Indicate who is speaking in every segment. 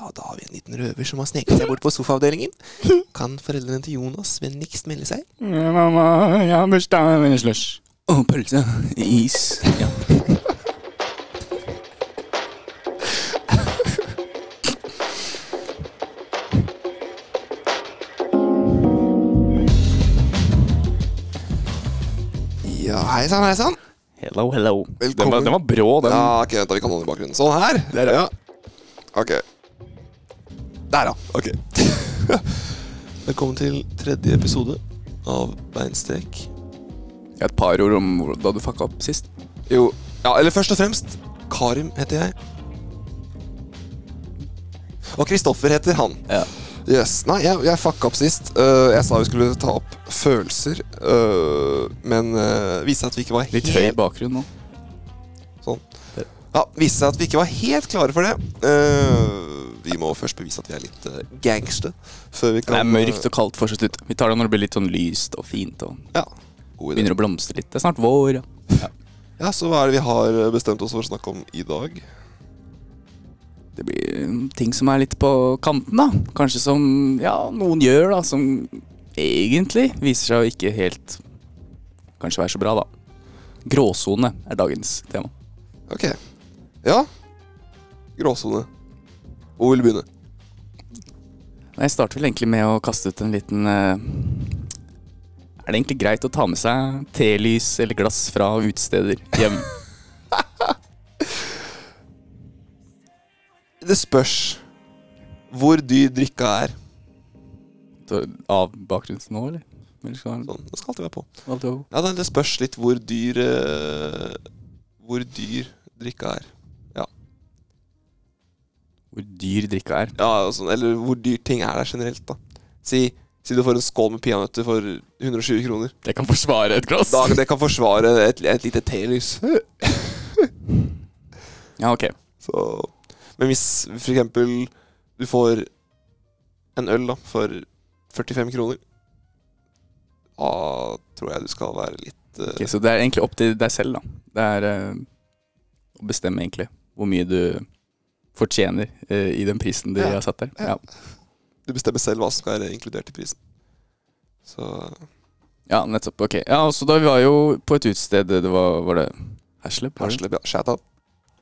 Speaker 1: Og da har vi en liten røver som har sneket seg bort på sofaavdelingen. Kan foreldrene til Jonas vennligst melde seg?
Speaker 2: Ja, mamma, jeg har bursdag. Jeg vil slush. Å, pølse. Is. Ja.
Speaker 1: Ja, hei sann, hei sann.
Speaker 2: Hello, hello. Den var,
Speaker 1: Velkommen.
Speaker 2: den var brå, den.
Speaker 1: Ja, ok, vent da, vi kan holde den i bakgrunnen. Sånn her.
Speaker 2: Der, ja.
Speaker 1: Ok. Der, ja. Ok. Velkommen til tredje episode av Beinstrek.
Speaker 2: Et par ord om hvor- da du fucka opp sist.
Speaker 1: Jo, ja, eller først og fremst Karim heter jeg. Og Kristoffer heter han.
Speaker 2: Ja.
Speaker 1: Yes, Nei, jeg, jeg fucka opp sist. Øh, jeg sa vi skulle ta opp følelser, øh, men øh, viste seg at vi ikke var
Speaker 2: Litt høy
Speaker 1: helt
Speaker 2: bakgrunn nå.
Speaker 1: Sånn. Ja, viste seg at vi ikke var helt klare for det. Øh, vi må først bevise at vi er litt uh, gangster. Før vi kan
Speaker 2: Det er mørkt og kaldt fortsatt ut. Vi tar det når det blir litt sånn lyst og fint og
Speaker 1: eh, Ja, god idé.
Speaker 2: begynner å blomstre litt. Det er snart vår. ja.
Speaker 1: Ja, Så hva er det vi har eh, bestemt oss for å snakke om i dag?
Speaker 2: Det blir mm, ting som er litt på kanten, da. Kanskje som ja, noen gjør, da. Som egentlig viser seg å ikke helt kanskje være så bra, da. Gråsone er dagens tema.
Speaker 1: Ok. Ja. Gråsone. Hvor vil du begynne?
Speaker 2: Jeg starter vel egentlig med å kaste ut en liten eh, Er det egentlig greit å ta med seg telys eller glass fra utesteder hjem?
Speaker 1: Det spørs hvor dyr drikka er.
Speaker 2: Av bakgrunnen nå, eller? eller skal man-
Speaker 1: Sånn, det skal alltid være på.
Speaker 2: alt over?
Speaker 1: Ja, det- Det spørs litt hvor dyr eh, Hvor dyr drikka er.
Speaker 2: Hvor dyr drikka er.
Speaker 1: Ja, altså, Eller hvor dyr ting er der generelt. da Si, si du får en skål med peanøtter for 120 kroner.
Speaker 2: Jeg kan forsvare et glass.
Speaker 1: Da, det kan forsvare et, et lite telys.
Speaker 2: Ja, ok.
Speaker 1: Så Men hvis for eksempel du får en øl da for 45 kroner, da tror jeg du skal være litt eh,
Speaker 2: Ok, så det er egentlig opp til deg selv, da. Det er eh, å bestemme egentlig hvor mye du fortjener eh, i den prisen de
Speaker 1: Ja.
Speaker 2: har satt der.
Speaker 1: Ja.
Speaker 2: Ja.
Speaker 1: Du bestemmer selv hva som skal være inkludert i prisen. Så
Speaker 2: ja, nettopp. Ok. Ja, så da vi var jo på et utested, det var, var det Hersleb? var det?
Speaker 1: Hasle, shout out.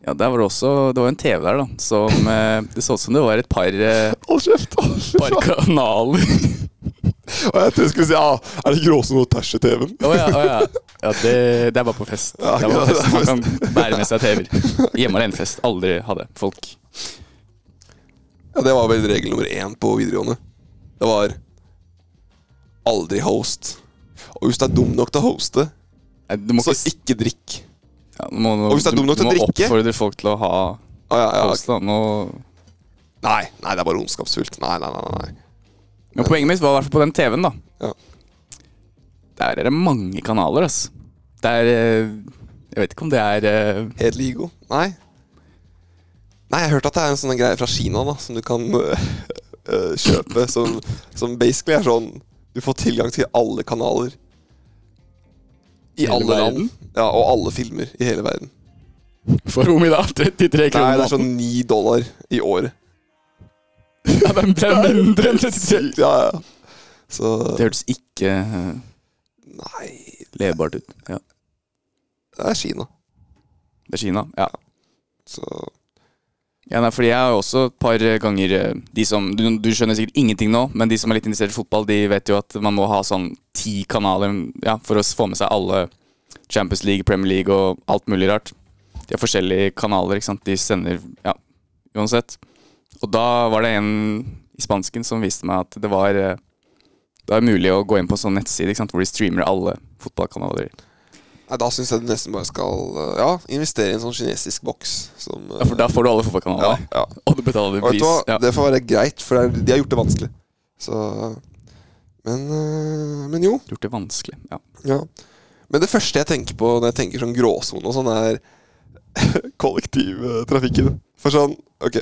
Speaker 2: Ja, der var det også Det var en TV der, da, som eh, Det så ut som det var et par, eh,
Speaker 1: Hold kjeft!
Speaker 2: par kanaler.
Speaker 1: Jeg trodde du skulle si ja, er det gråsone og tæsj i TV-en?
Speaker 2: Å ja, å ja. ja det, det er bare på fest.
Speaker 1: Ja,
Speaker 2: det er bare
Speaker 1: ja,
Speaker 2: på fest.
Speaker 1: det er
Speaker 2: Man kan bære med seg TV-er. Hjemme alene-fest. Aldri ha det. Folk.
Speaker 1: Ja, det var vel regel nummer én på videregående. Det var aldri host. Og hvis du er dum nok til å hoste,
Speaker 2: Nei, eh, Du må
Speaker 1: så
Speaker 2: ikke s-
Speaker 1: ikke drikk.
Speaker 2: ja, du må,
Speaker 1: Og hvis det er dum nok til å
Speaker 2: Du må
Speaker 1: drikke-
Speaker 2: oppfordre folk til å
Speaker 1: Å,
Speaker 2: ha
Speaker 1: Ah, ja, ja,
Speaker 2: post. Da. Nå,
Speaker 1: Nei, nei, det er bare ondskapsfullt. Nei, nei, nei. nei.
Speaker 2: men poenget mitt var i hvert fall på den TV-en, da.
Speaker 1: Ja.
Speaker 2: Der er det mange kanaler, ass. Det er eh, Jeg vet ikke om det er eh,
Speaker 1: Helt Ligo? Nei. Nei, jeg hørte at det er en sånn greie fra Kina da, som du kan øh, øh, kjøpe, som, som basically er sånn Du får tilgang til alle kanaler. I
Speaker 2: Hele
Speaker 1: alle
Speaker 2: verden?
Speaker 1: land. Ja, og alle filmer i hele verden.
Speaker 2: For hvor mye da? 33
Speaker 1: Nei,
Speaker 2: kroner?
Speaker 1: det er sånn ni dollar i året.
Speaker 2: sånn- ja, det er- sånn- det er mindre enn 33.
Speaker 1: Sykt, ja, ja. Så
Speaker 2: Det hørtes ikke eh,
Speaker 1: Nei,
Speaker 2: levbart ut. Ja.
Speaker 1: det er Kina.
Speaker 2: Det er Kina. Ja.
Speaker 1: Så
Speaker 2: Ja, nei, fordi jeg har jo også et par ganger eh, de som, du, du skjønner sikkert ingenting nå, men de som er litt interessert i fotball, de vet jo at man må ha sånn ti kanaler ja, for å få med seg alle Champions League, Premier League og alt mulig rart. De har forskjellige kanaler, ikke sant. De sender ja, uansett. Og da var det en i spansken som viste meg at det var eh, det var mulig å gå inn på en sånn nettside ikke sant? hvor de streamer alle fotballkanaler.
Speaker 1: Nei, da syns jeg du nesten bare skal øh, Ja, investere i en sånn kinesisk boks som eh,
Speaker 2: Ja, for da får du alle
Speaker 1: ja,
Speaker 2: fotballkanaler,
Speaker 1: ja.
Speaker 2: og du betaler
Speaker 1: Og vet
Speaker 2: pris.
Speaker 1: du hva,
Speaker 2: Ja.
Speaker 1: Det får være greit, for det er, de har gjort det vanskelig. Så Men, øh, men jo.
Speaker 2: Gjort det vanskelig. Ja.
Speaker 1: Ja. Men det første jeg tenker på når jeg tenker sånn gråsone og sånn, er kollektivtrafikken. For sånn, ok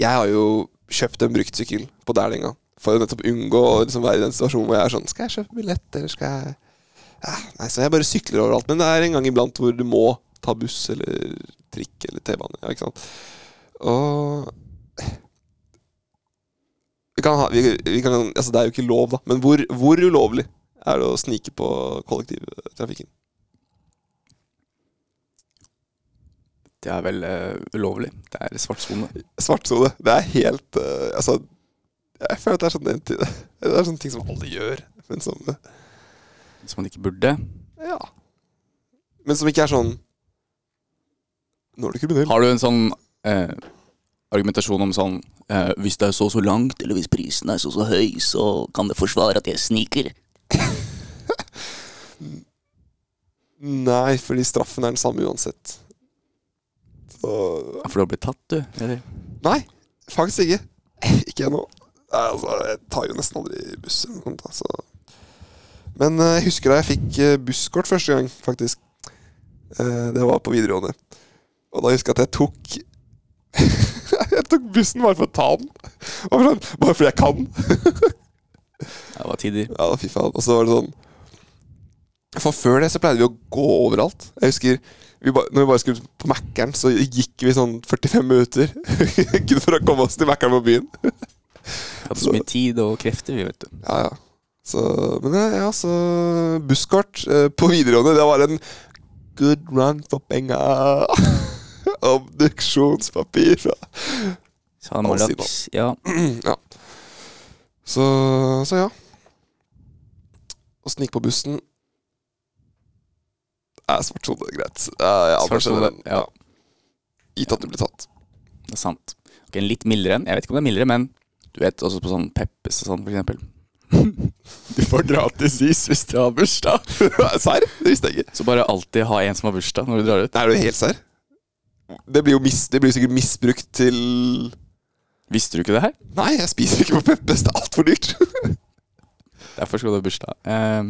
Speaker 1: Jeg har jo kjøpt en bruktsykkel på Dælinga for å nettopp unngå å liksom være i den situasjonen hvor jeg er sånn Skal jeg kjøpe billett, eller skal jeg ja, Nei, så jeg bare sykler overalt. Men det er en gang iblant hvor du må ta buss eller trikk eller T-bane. Ja, ikke sant? Og Vi kan ha, vi, vi kan, altså det er jo ikke lov, da. Men hvor, hvor ulovlig er det å snike på kollektivtrafikken?
Speaker 2: Det er vel eh, ulovlig. Det er svartsone.
Speaker 1: Svartsone. Det er helt eh, Altså, jeg føler at det er sånn en ti- Det er sånne ting som alle gjør, men som eh,
Speaker 2: Som man ikke burde.
Speaker 1: Ja. Men som ikke er sånn Nå er du kriminell.
Speaker 2: Har du en sånn eh, argumentasjon om sånn eh, Hvis det er så og så langt, eller hvis prisen er så og så høy, så kan det forsvare at jeg sniker?
Speaker 1: Nei, fordi straffen er den samme uansett. Så
Speaker 2: Ja, for du har blitt tatt, du. Eller?
Speaker 1: Nei, faktisk ikke. Ikke ennå. Nei, altså, jeg tar jo nesten aldri buss. eller noe sånt, Altså. Men eh, jeg husker da jeg fikk eh, busskort første gang, faktisk. Eh, Det var på videregående. Og da husker jeg at jeg tok Jeg tok bussen bare for å ta den. Bare sånn, Bare fordi jeg kan.
Speaker 2: Ja, det var tider.
Speaker 1: Ja, fy faen. Og så var det sånn For før det så pleide vi å gå overalt. Jeg husker vi ba, når vi bare skulle på Mækkern, så gikk vi sånn 45 minutter. Kun for å komme oss til Mækkern på byen.
Speaker 2: Vi hadde så mye tid og krefter, vi, vet du.
Speaker 1: Ja, ja. Så, men ja, ja, så busskort eh, på videregående, det var en good run for penga. Obduksjonspapir.
Speaker 2: Så han må
Speaker 1: All
Speaker 2: laks. Ja.
Speaker 1: Ja. Så, så ja. Å snike på bussen er svart sone, greit. Ja, ja,
Speaker 2: Svart sone,
Speaker 1: den.
Speaker 2: ja.
Speaker 1: Gitt at du blir tatt.
Speaker 2: Det er sant. Ok, en litt mildere en. Jeg vet ikke om det er mildere, men du vet også på sånn Peppes og sånn, for eksempel. du får gratis is hvis du har bursdag.
Speaker 1: Serr? Det visste jeg ikke.
Speaker 2: Så bare alltid ha en som har bursdag når du drar ut.
Speaker 1: Nei, Er du helt serr? Det blir jo mis, det blir jo sikkert misbrukt til
Speaker 2: Visste du ikke det her?
Speaker 1: Nei, jeg spiser ikke på Peppes. Det er altfor dyrt.
Speaker 2: Derfor skal du ha bursdag. Ehm,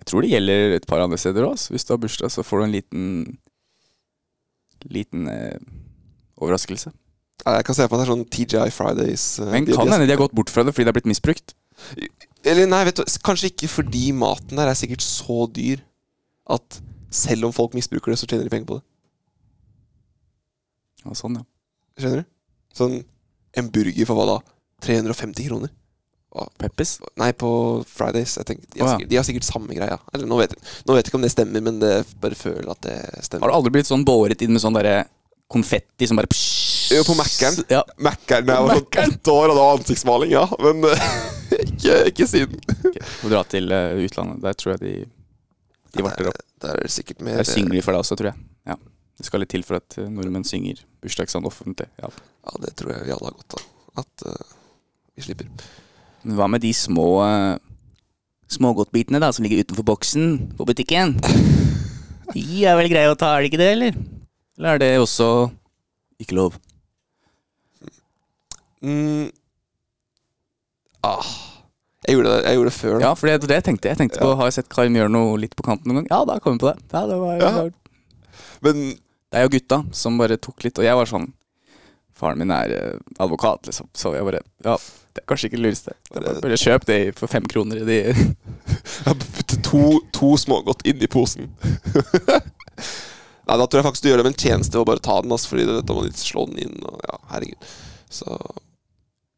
Speaker 2: jeg tror det gjelder et par andre steder òg. Hvis du har bursdag, så får du en liten Liten eh, overraskelse.
Speaker 1: Ja, Jeg kan se på at det er sånn TGI Fridays. eh,
Speaker 2: Men
Speaker 1: de-
Speaker 2: kan
Speaker 1: de-
Speaker 2: hende de har gått bort fra det fordi det er blitt misbrukt.
Speaker 1: Eller nei, vet du, s- kanskje ikke fordi maten der er sikkert så dyr at selv om folk misbruker det, så tjener de penger på det.
Speaker 2: Og sånn, ja.
Speaker 1: Skjønner du? Sånn en burger for hva da? 350 kroner?
Speaker 2: Peppes.
Speaker 1: Nei, på Fridays. Jeg tenker, de, har
Speaker 2: Å, ja.
Speaker 1: sikkert, de har sikkert samme greia. Eller nå vet, jeg, nå vet jeg ikke om det stemmer, men det bare føler at det
Speaker 2: Har
Speaker 1: stemmer.
Speaker 2: du aldri blitt sånn båret inn med sånn derre konfetti som bare pssst?
Speaker 1: Jo, på Mac-en.
Speaker 2: Ja.
Speaker 1: Mækkern da jeg var
Speaker 2: Mækkern?
Speaker 1: sånn åtte år, og det var ansiktsmaling, ja. Men ikke, ikke siden.
Speaker 2: ok. Får dra til eh, utlandet. Der tror jeg de De varter opp.
Speaker 1: Eh, Der er det sikkert mer eh,
Speaker 2: Der synger de for deg også, tror jeg. Ja. Det skal litt til for at eh, nordmenn synger bursdagssang offentlig. Ja.
Speaker 1: Ja, det tror jeg vi alle har godt av. At eh, vi slipper.
Speaker 2: Men hva med de små eh, smågodtbitene da, som ligger utenfor boksen på butikken? De er vel greie å ta, er det ikke det, eller? Eller er det også ikke lov?
Speaker 1: Mm. Ah. Jeg gjorde det, jeg gjorde det før. da.
Speaker 2: Ja, for det var det jeg tenkte. Jeg tenkte på, Har jeg sett Karim gjøre noe litt på kanten noen gang? Ja, da kom vi på det. Ja, det, var,
Speaker 1: Ja. Men
Speaker 2: det er jo gutta som bare tok litt, og jeg var sånn Faren min er eh, advokat, liksom, så jeg bare Ja, det er kanskje ikke det lureste. Jeg Bare, bare kjøp det for fem kroner i de
Speaker 1: eh, jeg har puttet to, to smågodt inni posen. Nei, da tror jeg faktisk du gjør dem en tjeneste ved å bare ta den, altså, fordi du vet, da må de slå den inn. Og, ja, herregud. Så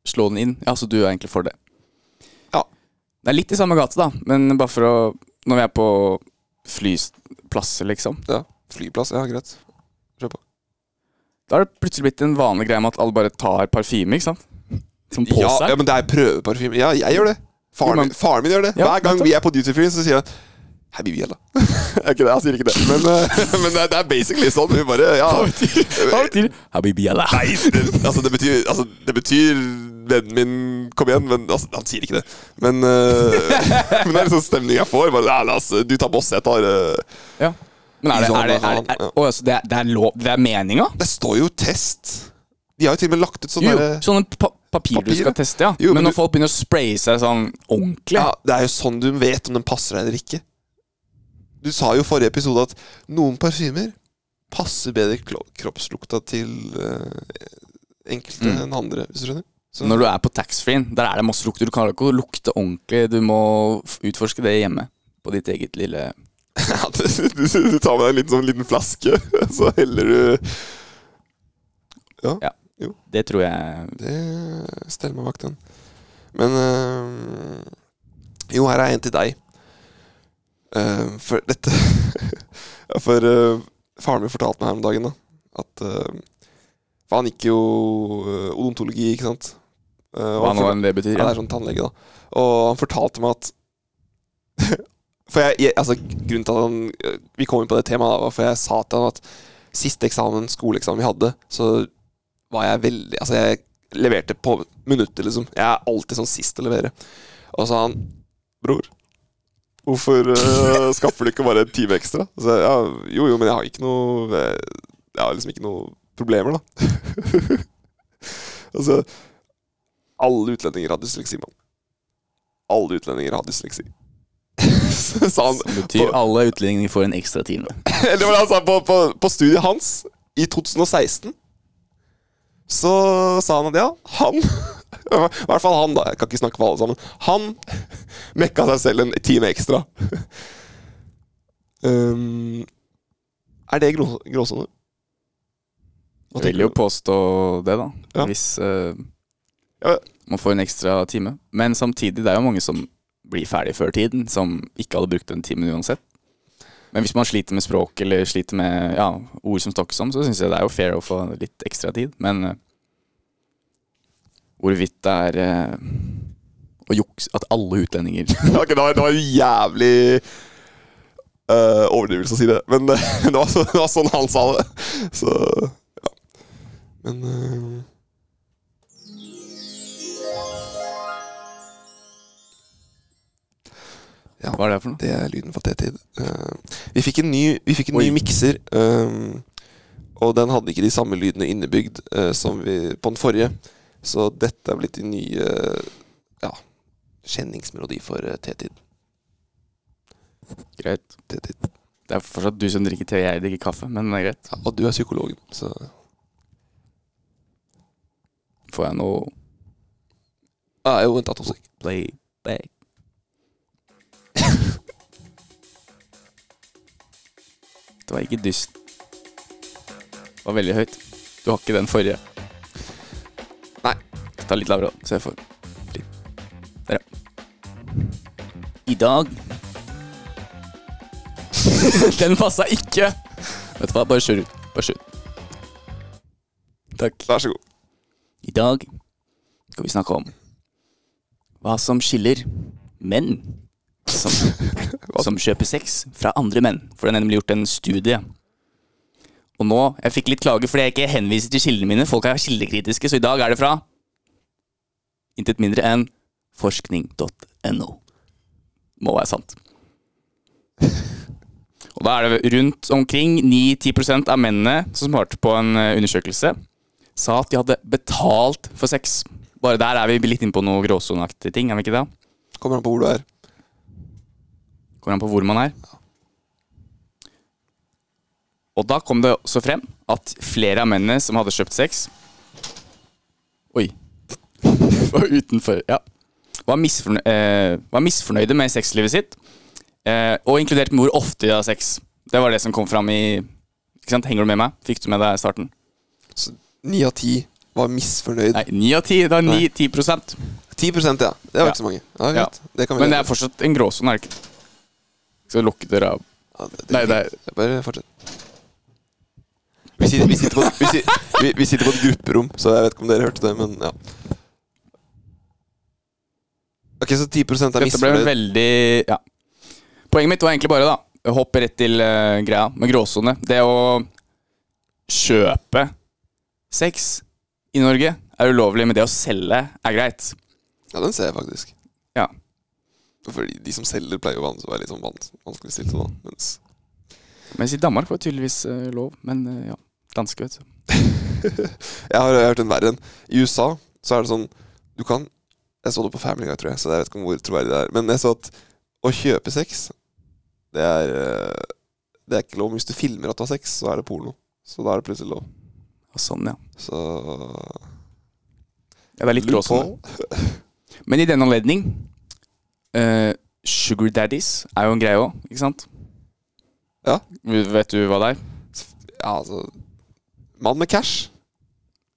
Speaker 2: slå den inn. Ja, så du er egentlig for det.
Speaker 1: Ja.
Speaker 2: Det er litt i samme gate, da, men bare for å Når vi er på flyplasser, liksom,
Speaker 1: ja, flyplass. Ja, greit.
Speaker 2: da har det plutselig blitt en vanlig greie med at alle bare tar parfyme, ikke sant? Som på
Speaker 1: Ja,
Speaker 2: seg.
Speaker 1: ja, men det er prøveparfyme. Ja, jeg gjør det. Faren
Speaker 2: Jo, men-
Speaker 1: min, faren min gjør det.
Speaker 2: Ja,
Speaker 1: Hver gang
Speaker 2: nettopp.
Speaker 1: vi er på duty free, så sier han Hei, vi gjelder. ikke det, han sier ikke det. Men, eh, men det er- det er basically sånn. Vi bare Ja.
Speaker 2: Hva betyr det? Habibi Allah.
Speaker 1: Nei, det, altså det betyr Altså, det betyr Vennen min, kom igjen, men altså, han sier ikke det. Men, eh, men det er liksom stemning jeg får. Bare, ja, la oss, du tar boss, jeg tar eh».
Speaker 2: Ja. Men er det, er det, er det,
Speaker 1: Sånn,
Speaker 2: er, å, altså, det, er, det er lov Det er meninga?
Speaker 1: Det står jo test. De har jo til og med lagt ut sånn
Speaker 2: Jo, jo.
Speaker 1: derre
Speaker 2: Sånne pa papir du
Speaker 1: Papir, ja.
Speaker 2: skal teste, ja.
Speaker 1: Jo, men
Speaker 2: men når
Speaker 1: du-
Speaker 2: folk begynner å spraye seg sånn ordentlig
Speaker 1: ja, Det er jo sånn du vet om den passer deg eller ikke. Du sa jo i forrige episode at noen parfymer passer bedre klo- kroppslukta til eh, enkelte
Speaker 2: Mm.
Speaker 1: enn andre, hvis du skjønner? Så,
Speaker 2: Når du er på taxfree-en, der er det masse lukt. Du kan ikke lukte ordentlig. Du må f- utforske det hjemme. På ditt eget lille
Speaker 1: Ja, du, du, du tar med deg en liten, sånn liten flaske, så heller du Jo.
Speaker 2: Det tror jeg
Speaker 1: Det steller meg bak den. Men eh, Jo, her er en til deg. Eh, for dette Ja, For eh, faren min fortalte meg her om dagen da at eh, For han gikk jo eh, odontologi, ikke sant? Eh, og
Speaker 2: Hva
Speaker 1: han
Speaker 2: nå
Speaker 1: for-
Speaker 2: enn det betyr.
Speaker 1: ja, det
Speaker 2: Ja.
Speaker 1: er sånn tannlege, da. Og han fortalte meg at For jeg, jeg altså, grunnen til at han Vi kom inn på det temaet, da, var for jeg sa til han at siste eksamen, skoleeksamen vi hadde, så var jeg veldig Altså, jeg leverte på minuttet, liksom. Jeg er alltid sånn sist til å levere. Og så sa han Bror, hvorfor eh, skaffer du ikke bare en time ekstra? Så, jeg, ja, jo, jo, men jeg har ikke noe eh, Jeg har liksom ikke noe problemer, da. altså alle utlendinger har dysleksi, mann. Alle utlendinger har dysleksi. Så sa han
Speaker 3: Det betyr alle utlendinger får en ekstra time.
Speaker 1: Eller hva han sa altså på, på, på studiet hans i 2016. Så sa han at ja, han I hvert fall han, da. Jeg kan ikke snakke for alle sammen. Han mekka seg selv en time ekstra. Um, er det grå- gråsone? Hva
Speaker 2: Jeg
Speaker 1: tenker
Speaker 2: vil jo
Speaker 1: du?
Speaker 2: påstå det, da.
Speaker 1: Ja.
Speaker 2: Hvis eh,
Speaker 1: Ja.
Speaker 2: man får en ekstra time. Men samtidig, det er jo mange som blir ferdig før tiden, som ikke hadde brukt den timen uansett. Men hvis man sliter med språk eller sliter med ja, ord som stokkes om, så syns jeg det er jo fair å få litt ekstra tid. Men eh, hvorvidt det er eh, å jukse At alle utlendinger
Speaker 1: Ok, det var, det var en jævlig eh, overdrivelse å si det, men eh, det, var så, det var sånn han sa det. Så ja. Men eh,
Speaker 2: Hva er det for noe?
Speaker 1: det er lyden fra T-tid. Eh, vi fikk en ny, vi fikk en ny
Speaker 2: Oi.
Speaker 1: mikser, eh, og den hadde ikke de samme lydene innebygd eh, som vi, på den forrige. Så dette er blitt en ny eh, ja, kjenningsmelodi for eh, T-tid.
Speaker 2: Greit.
Speaker 1: T-tid.
Speaker 2: Det er fortsatt du som drikker te, jeg drikker kaffe, men det er greit.
Speaker 1: Ja, og du er psykologen, så
Speaker 2: Får jeg noe
Speaker 1: ah, Jo, vent da, to sek.
Speaker 2: playback? Det var ikke dyst. Det var veldig høyt. Du har ikke den forrige.
Speaker 1: Nei.
Speaker 2: Ta litt lavere, da, så jeg får litt Der, ja. I dag Den passa ikke! Vet du hva, bare kjør ut. Bare kjør ut. Takk.
Speaker 1: Vær så god.
Speaker 2: I dag skal vi snakke om hva som skiller menn som, som kjøper sex fra andre menn. For det er nemlig gjort en studie. Og nå, Jeg fikk litt klage fordi jeg ikke henviser til kildene mine. Folk er kildekritiske, så i dag er det fra intet mindre enn forskning.no. Må være sant. Og da er det rundt omkring 9-10 av mennene som svarte på en eh, undersøkelse sa at de hadde betalt for sex. Bare der er vi litt inne på noe gråsoneaktige ting, er vi ikke det?
Speaker 1: Kommer an på hvor du er.
Speaker 2: Kommer an på hvor man er. Og da kom det også frem at flere av mennene som hadde kjøpt sex Oi. Var utenfor, ja. Var, misfornø eh, var misfornøyde med sexlivet sitt. Eh, og inkludert med hvor ofte de har sex. Det var det som kom fram i ikke sant? Henger du med meg? Fikk du med deg starten?
Speaker 1: Så ni av ti var misfornøyd.
Speaker 2: Nei, ni av ti. Det er
Speaker 1: Nei.
Speaker 2: ni, ti prosent.
Speaker 1: 10 ja. Det var
Speaker 2: Ja.
Speaker 1: ikke så mange. Ja,
Speaker 2: Ja.
Speaker 1: greit. Det kan vi
Speaker 2: Men det
Speaker 1: leve
Speaker 2: er fortsatt en gråsone, er det ikke? Skal vi lukke døra av
Speaker 1: med. ja, det, det,
Speaker 2: Nei, det er
Speaker 1: Bare fortsett. Vi sitter, vi, sitter på, vi, sitter, vi, vi sitter på et grupperom, så jeg vet ikke om dere hørte det, men ja. Ok, så 10 er
Speaker 2: Dette ble
Speaker 1: misfornøyd.
Speaker 2: veldig Ja. Poenget mitt var egentlig bare, da Hoppe rett til eh, greia med gråsone. Det å kjøpe sex i Norge er ulovlig, men det å selge er greit.
Speaker 1: Ja, den ser jeg faktisk.
Speaker 2: Ja.
Speaker 1: Fordi de som selger, pleier jo vans- å være litt sånn vans- vanskeligstilte, da. Mens
Speaker 2: Mens i Danmark var det tydeligvis eh, lov. Men eh, ja, danske, vet du.
Speaker 1: Jeg har hørt en verre en. I USA så er det sånn Du kan Jeg så det på Family Guy, tror jeg, så jeg vet ikke om hvor troverdig det er. Men jeg så at å kjøpe sex, det er eh, Det er ikke lov. Men Hvis du filmer at du har sex, så er det porno. Så da er det plutselig lov.
Speaker 2: Og sånn, ja.
Speaker 1: Så
Speaker 2: ja det er litt gråsone.
Speaker 1: Loophole.
Speaker 2: Men i den anledning eh, Sugar daddies er jo en greie òg, ikke sant?
Speaker 1: Ja.
Speaker 2: Vet du hva det er?
Speaker 1: Ja, altså Mann med cash.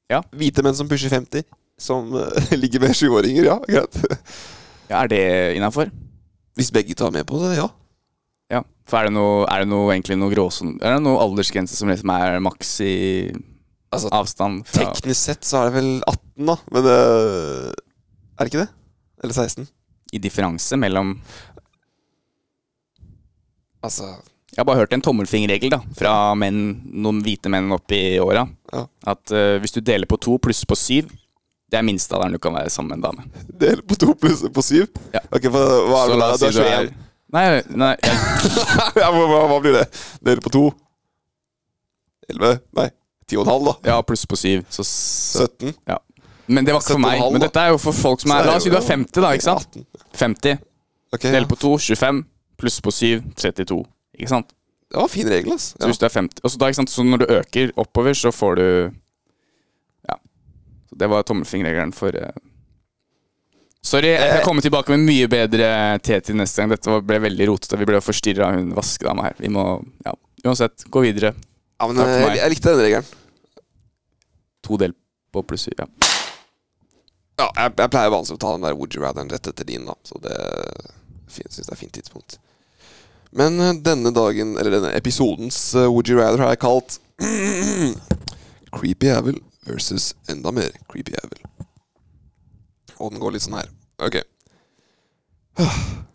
Speaker 2: Ja.
Speaker 1: Hvite menn som pusher 50, som eh, ligger med sjuåringer. Ja, greit.
Speaker 2: Ja, er det innafor?
Speaker 1: Hvis begge tar med på det, ja.
Speaker 2: Ja. For er det, noe, er det noe, egentlig noe gråson... Er det noe aldersgrense som liksom er maks i
Speaker 1: Altså,
Speaker 2: avstand fra
Speaker 1: Teknisk sett så er det vel 18, da. Men eh, er det ikke det? Eller 16?
Speaker 2: I differanse mellom
Speaker 1: Altså
Speaker 2: Jeg har bare hørt en tommelfingerregel da fra menn, noen hvite menn opp i åra.
Speaker 1: Ja.
Speaker 2: At eh, hvis du deler på to pluss på syv, det er minstealderen du kan være sammen med en dame.
Speaker 1: Del på to pluss på syv?
Speaker 2: Ja.
Speaker 1: Ok, for, hva er det da? Du er 21.
Speaker 2: Nei, nei jeg,
Speaker 1: ja, hva, hva, hva blir det? Del på to? 11? Nei, 10,5 da.
Speaker 2: ja, pluss på syv. Så, så,
Speaker 1: 17?
Speaker 2: ja. Men det var ikke
Speaker 1: Sett
Speaker 2: for meg.
Speaker 1: en halv,
Speaker 2: Men
Speaker 1: da.
Speaker 2: dette er jo for folk som
Speaker 1: Så er
Speaker 2: er La
Speaker 1: det
Speaker 2: oss si
Speaker 1: jo-
Speaker 2: du er 50, da. ikke sant?
Speaker 1: 18.
Speaker 2: 50.
Speaker 1: Ok,
Speaker 2: Del
Speaker 1: ja.
Speaker 2: på 2, 25. Pluss på 7, 32. Ikke sant?
Speaker 1: Det var en fin regel, ass.
Speaker 2: Så
Speaker 1: Ja.
Speaker 2: hvis du er 50 og så, da, ikke sant? så når du øker oppover, så får du Ja. Så det var tommelfingerregelen for eh. Sorry, jeg
Speaker 1: Eh.
Speaker 2: kan komme tilbake med mye bedre te til neste gang. Dette var- ble veldig rotete. Vi ble forstyrra av hun vaskedama her. Vi må ja, uansett gå videre.
Speaker 1: ja, men
Speaker 2: takk for
Speaker 1: eh,
Speaker 2: meg.
Speaker 1: jeg, jeg likte den regelen.
Speaker 2: To del på pluss syv. Ja.
Speaker 1: Ja, jeg, jeg pleier vanligvis å ta den der Would you rather rett etter din, da. Så det syns jeg er et fint tidspunkt. Men eh, denne dagen, eller denne episodens eh, Would you rather har jeg kalt Creepy jævel versus enda mer creepy jævel. Og den går litt sånn her. Ok.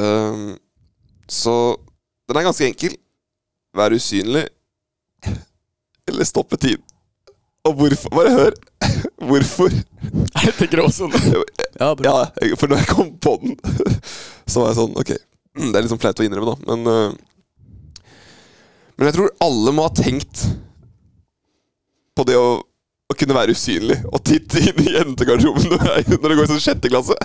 Speaker 1: Ehm, så den er ganske enkel. Vær usynlig eller stoppe tiden. Og hvorfor Bare hør. Hvorfor?
Speaker 2: Er dette gråsone? Ja, bra.
Speaker 1: Ja, jeg- for når jeg kom på den, så var jeg sånn Ok, det er litt sånn flaut å innrømme, da, men øh, Men jeg tror alle må ha tenkt på det å, å kunne være usynlig og titte inn i jentegarderoben når, jeg, når det går i sånn sjette klasse.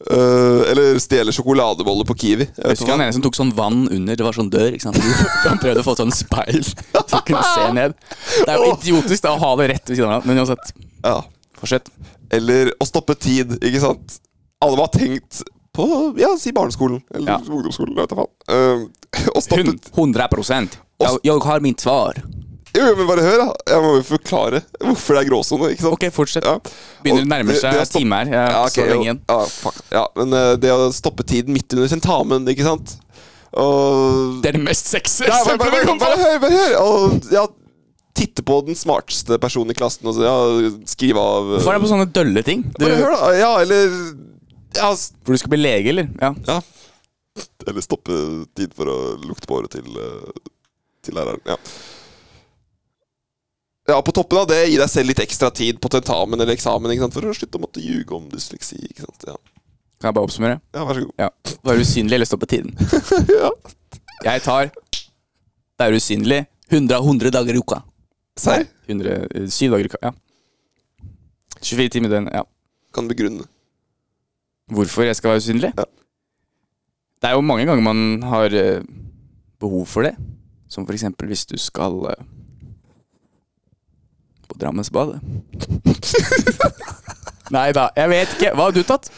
Speaker 1: Øh, eller stjele sjokoladeboller på Kiwi. Jeg
Speaker 3: Jeg
Speaker 1: vet
Speaker 3: husker han
Speaker 1: ikke hva.
Speaker 3: ene som tok sånn vann under. Det var sånn dør. ikke sant? Han prøvde å få sånn speil, så han kunne se ned.
Speaker 2: Det er jo idiotisk da, å ha det rett ved siden av. Men uansett,
Speaker 1: Ja.
Speaker 2: fortsett.
Speaker 1: Eller å stoppe tid, ikke sant? Alle må ha tenkt på ja, si barneskolen eller
Speaker 2: Ja.
Speaker 1: ungdomsskolen. Jeg vet da faen. Øh, å stoppe
Speaker 2: 100
Speaker 3: Jeg, jeg har mitt svar.
Speaker 1: Jo, jo, men bare hør, da. Jeg må jo forklare hvorfor det er gråsone. ikke sant?
Speaker 2: Ok, fortsett.
Speaker 1: Ja.
Speaker 2: Begynner
Speaker 1: Og
Speaker 2: å nærme seg
Speaker 1: å stoppe-
Speaker 2: time her. Jeg har
Speaker 1: Ja,
Speaker 2: ikke
Speaker 1: ok,
Speaker 2: så
Speaker 1: jo.
Speaker 2: lenge igjen.
Speaker 1: Ja, fuck. ja, men eh, det å stoppe tiden midt under tentamen, ikke sant Og
Speaker 2: Det er det mest sexy
Speaker 1: Ja, bare, bare,
Speaker 2: eksempelet
Speaker 1: bare,
Speaker 2: jeg kom
Speaker 1: bare
Speaker 2: på!
Speaker 1: hør! bare hør Og ja, titte på den smarteste personen i klassen og så, ja, skrive av eh,
Speaker 2: Hvorfor er det på sånne dølle ting? Du,
Speaker 1: Bare hør, da. Ja, eller ja, s-
Speaker 2: hvor du skal bli lege, eller? Ja.
Speaker 1: ja. Eller stoppe tid for å lukte på håret til, eh, til læreren. Ja. ja, på toppen av det, gi deg selv litt ekstra tid på tentamen eller eksamen ikke sant? for å slutte å måtte ljuge om dysleksi. Ikke sant? Ja.
Speaker 2: Kan jeg bare oppsummere?
Speaker 1: ja, vær så god.
Speaker 2: Ja. Være usynlig eller stoppe tiden?
Speaker 1: Ja.
Speaker 2: Jeg tar Det er usynlig.
Speaker 3: 100 av 100 dager i uka.
Speaker 1: Serr?
Speaker 2: 107 eh, dager i uka. Ja. 24 timer i døgnet. Ja.
Speaker 1: Kan du begrunne.
Speaker 2: Hvorfor jeg skal være usynlig?
Speaker 1: Ja.
Speaker 2: Det er jo mange ganger man har eh, behov for det. Som for eksempel hvis du skal eh, på Drammensbadet. Nei da, jeg vet ikke. Hva har du tatt?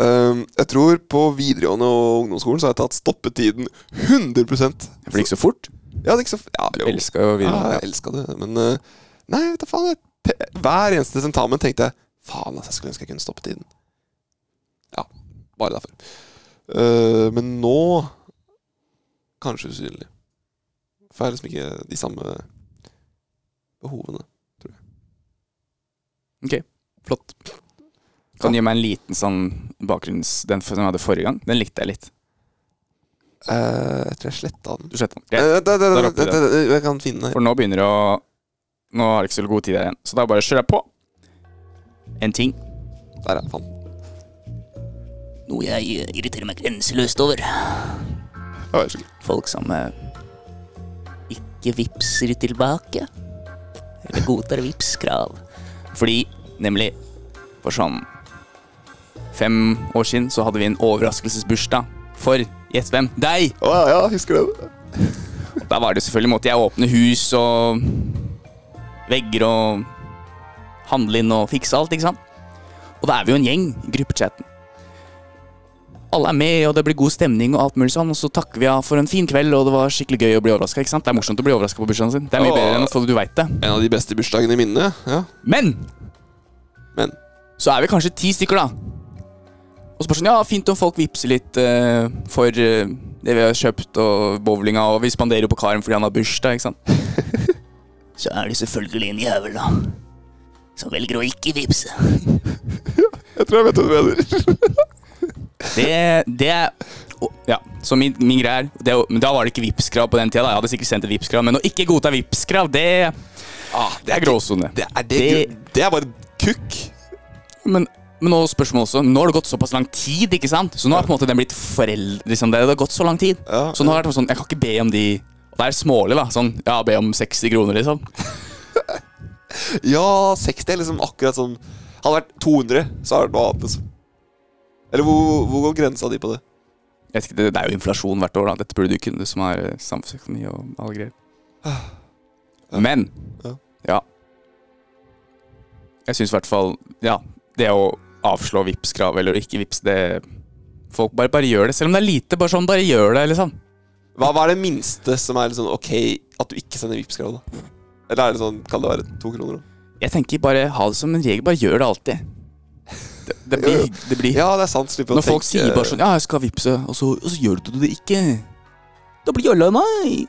Speaker 1: Ehm, jeg tror på videregående og ungdomsskolen så har jeg tatt stoppetiden 100
Speaker 2: For det gikk så fort.
Speaker 1: Ja, det er ikke så f- ja,
Speaker 2: Du
Speaker 1: jo.
Speaker 2: elska jo
Speaker 1: Ah, Ja,
Speaker 2: videregående.
Speaker 1: jeg elska det, men eh, Nei, vet du faen. Jeg, pe- hver eneste tentamen tenkte jeg faen, altså, jeg skulle ønske jeg kunne stoppe tiden. Ja, bare derfor. Eh, men nå kanskje usynlig. For jeg har liksom ikke de samme behovene.
Speaker 2: Flott. Kan du gi meg en liten sånn bakgrunns... Den som jeg hadde forrige gang, den likte jeg litt.
Speaker 1: Eh, jeg tror jeg sletta den.
Speaker 2: Du sletter den.
Speaker 1: Eh,
Speaker 2: Greit.
Speaker 1: vent, vent,
Speaker 2: der
Speaker 1: vent,
Speaker 2: oppe i
Speaker 1: vent, vent, Jeg kan finne den. her.
Speaker 2: For nå begynner det å Nå har jeg ikke så god tid her igjen, så da bare kjører jeg på. En ting.
Speaker 1: Der, ja. Faen.
Speaker 3: Noe jeg eh, irriterer meg grenseløst over.
Speaker 1: Ja, vær så god.
Speaker 3: Folk som eh, ikke vipser tilbake. Eller godtar vipskrav.
Speaker 2: Fordi, nemlig For sånn fem år siden så hadde vi en overraskelsesbursdag for gjett hvem? Deg!
Speaker 1: Å, ja, ja, husker du det?
Speaker 2: Og Da var det selvfølgelig måtte jeg åpne hus og vegger og handle inn og fikse alt, ikke sant? Og da er vi jo en gjeng i gruppechatten. alle er med, og det blir god stemning, og alt mulig sånn. Og så takker vi av for en fin kveld, og det var skikkelig gøy å bli overraska. Det er morsomt å bli overraska på bursdagen sin. Det er mye
Speaker 1: Åh.
Speaker 2: bedre enn at folk- du veit det.
Speaker 1: En av de beste bursdagene mine. Ja,
Speaker 2: Men
Speaker 1: men
Speaker 2: så er vi kanskje ti stykker, da. Og så bare sånn, ja, fint om folk vippser litt eh, for eh, det vi har kjøpt, og bowlinga, og vi spanderer jo på karen fordi han har bursdag, ikke sant.
Speaker 3: Så er det selvfølgelig en jævel, da. Som velger å ikke vippse.
Speaker 1: Jeg tror jeg vet hva du mener.
Speaker 2: Det, det er å, Ja, så min, min greie er det, er jo- Men da var det ikke Vipps-krav på den tida, da. Jeg hadde sikkert sendt et Vipps-krav, men å ikke godta Vipps-krav, det, det er gråsone.
Speaker 1: Ah, Det er, det, det er bare kukk.
Speaker 2: Men, men nå spørsmålet også. Nå har det gått såpass lang tid, ikke sant? Så nå har på en måte den blitt foreldre, liksom. Det har gått så lang tid.
Speaker 1: Ja.
Speaker 2: så nå har det vært sånn, jeg kan ikke be om de Og det er smålig, da. Sånn, ja, be om 60 kroner, liksom.
Speaker 1: Ja, 60 er liksom akkurat sånn Hadde det vært 200, så hadde det vært noe annet. liksom. Eller hvor, hvor går grensa di på det?
Speaker 2: Jeg vet ikke, det, det er jo inflasjon hvert år, da. Dette burde du kunne, du som er eh, samfunnsøkonomi og alle greier. Men
Speaker 1: Ja.
Speaker 2: ja. Jeg syns i hvert fall Ja, det å avslå Vipps-krav eller ikke Vipps, det Folk bare, bare gjør det. Selv om det er lite, bare sånn, bare gjør det, liksom.
Speaker 1: Hva, hva er det minste som er liksom ok at du ikke sender Vipps-krav, da? Eller er det sånn, kan det være to kroner? da?
Speaker 2: Jeg tenker bare ha det som en regel. Bare gjør det alltid. Det, det
Speaker 1: Jo, jo.
Speaker 2: blir, det blir.
Speaker 1: Ja, det er sant. Slipper å
Speaker 2: Når folk sier bare sånn 'Ja, jeg skal vippse', og så, og så gjør du det ikke. Da blir jølla meg.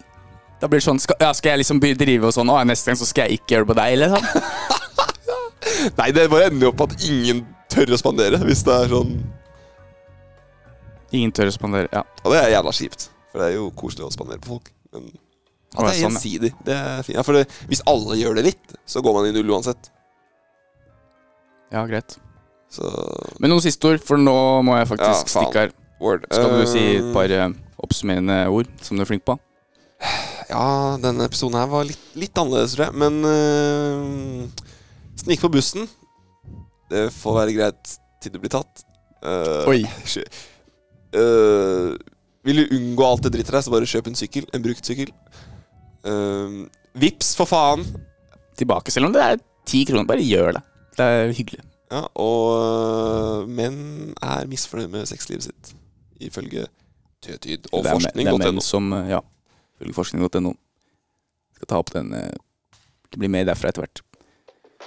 Speaker 2: Da blir det sånn skal, ja, skal jeg liksom be- drive og sånn 'Å, neste gang så skal jeg ikke gjøre det på deg', eller sånn.
Speaker 1: Nei, det bare ender jo opp at ingen tør å spandere, hvis det er sånn
Speaker 2: Ingen tør å spandere. Ja.
Speaker 1: Og det er jævla kjipt, for det er jo koselig å spandere på folk. Men at
Speaker 2: Å,
Speaker 1: det er
Speaker 2: ja, sånn, ja.
Speaker 1: gjensidig, det er fint. Ja, for det, hvis alle gjør det litt, så går man i null uansett.
Speaker 2: ja, greit.
Speaker 1: Så
Speaker 2: Men noen siste ord, for nå må jeg
Speaker 1: Ja,
Speaker 2: faktisk
Speaker 1: faen.
Speaker 2: stikke her.
Speaker 1: word.
Speaker 2: Skal du si et
Speaker 1: Eh,
Speaker 2: par eh, oppsummerende ord som du er flink på?
Speaker 1: Ja, denne episoden her var litt, litt annerledes, tror jeg. Men uh, snik på bussen. Det får være greit til du blir tatt. Eh,
Speaker 2: Oi.
Speaker 1: sky- Eh, vil du unngå alt det drittet der, så bare kjøp en sykkel. En brukt sykkel. Uh, Vips, for faen!
Speaker 2: Tilbake, selv om det er ti kroner. Bare gjør det. Det er hyggelig.
Speaker 1: Ja, og øh, menn er misfornøyd med sexlivet sitt, ifølge Tøtyd og
Speaker 2: det er, men- Det er menn
Speaker 1: forskning.no.
Speaker 2: som, eh, ja, følge forskning.no. Skal ta opp den eh, Det blir mer derfra etter hvert.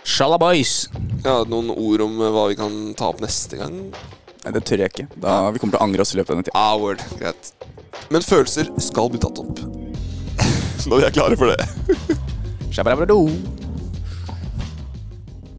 Speaker 2: Shalabais!
Speaker 1: Ja, noen ord om øh, hva vi kan ta opp neste gang?
Speaker 2: Nei, det tør jeg ikke. Da, vi kommer til å angre oss i løpet av denne tida.
Speaker 1: Ah, word. Greit. Men følelser skal bli tatt opp. Når vi er klare for det.
Speaker 2: Shabarabado.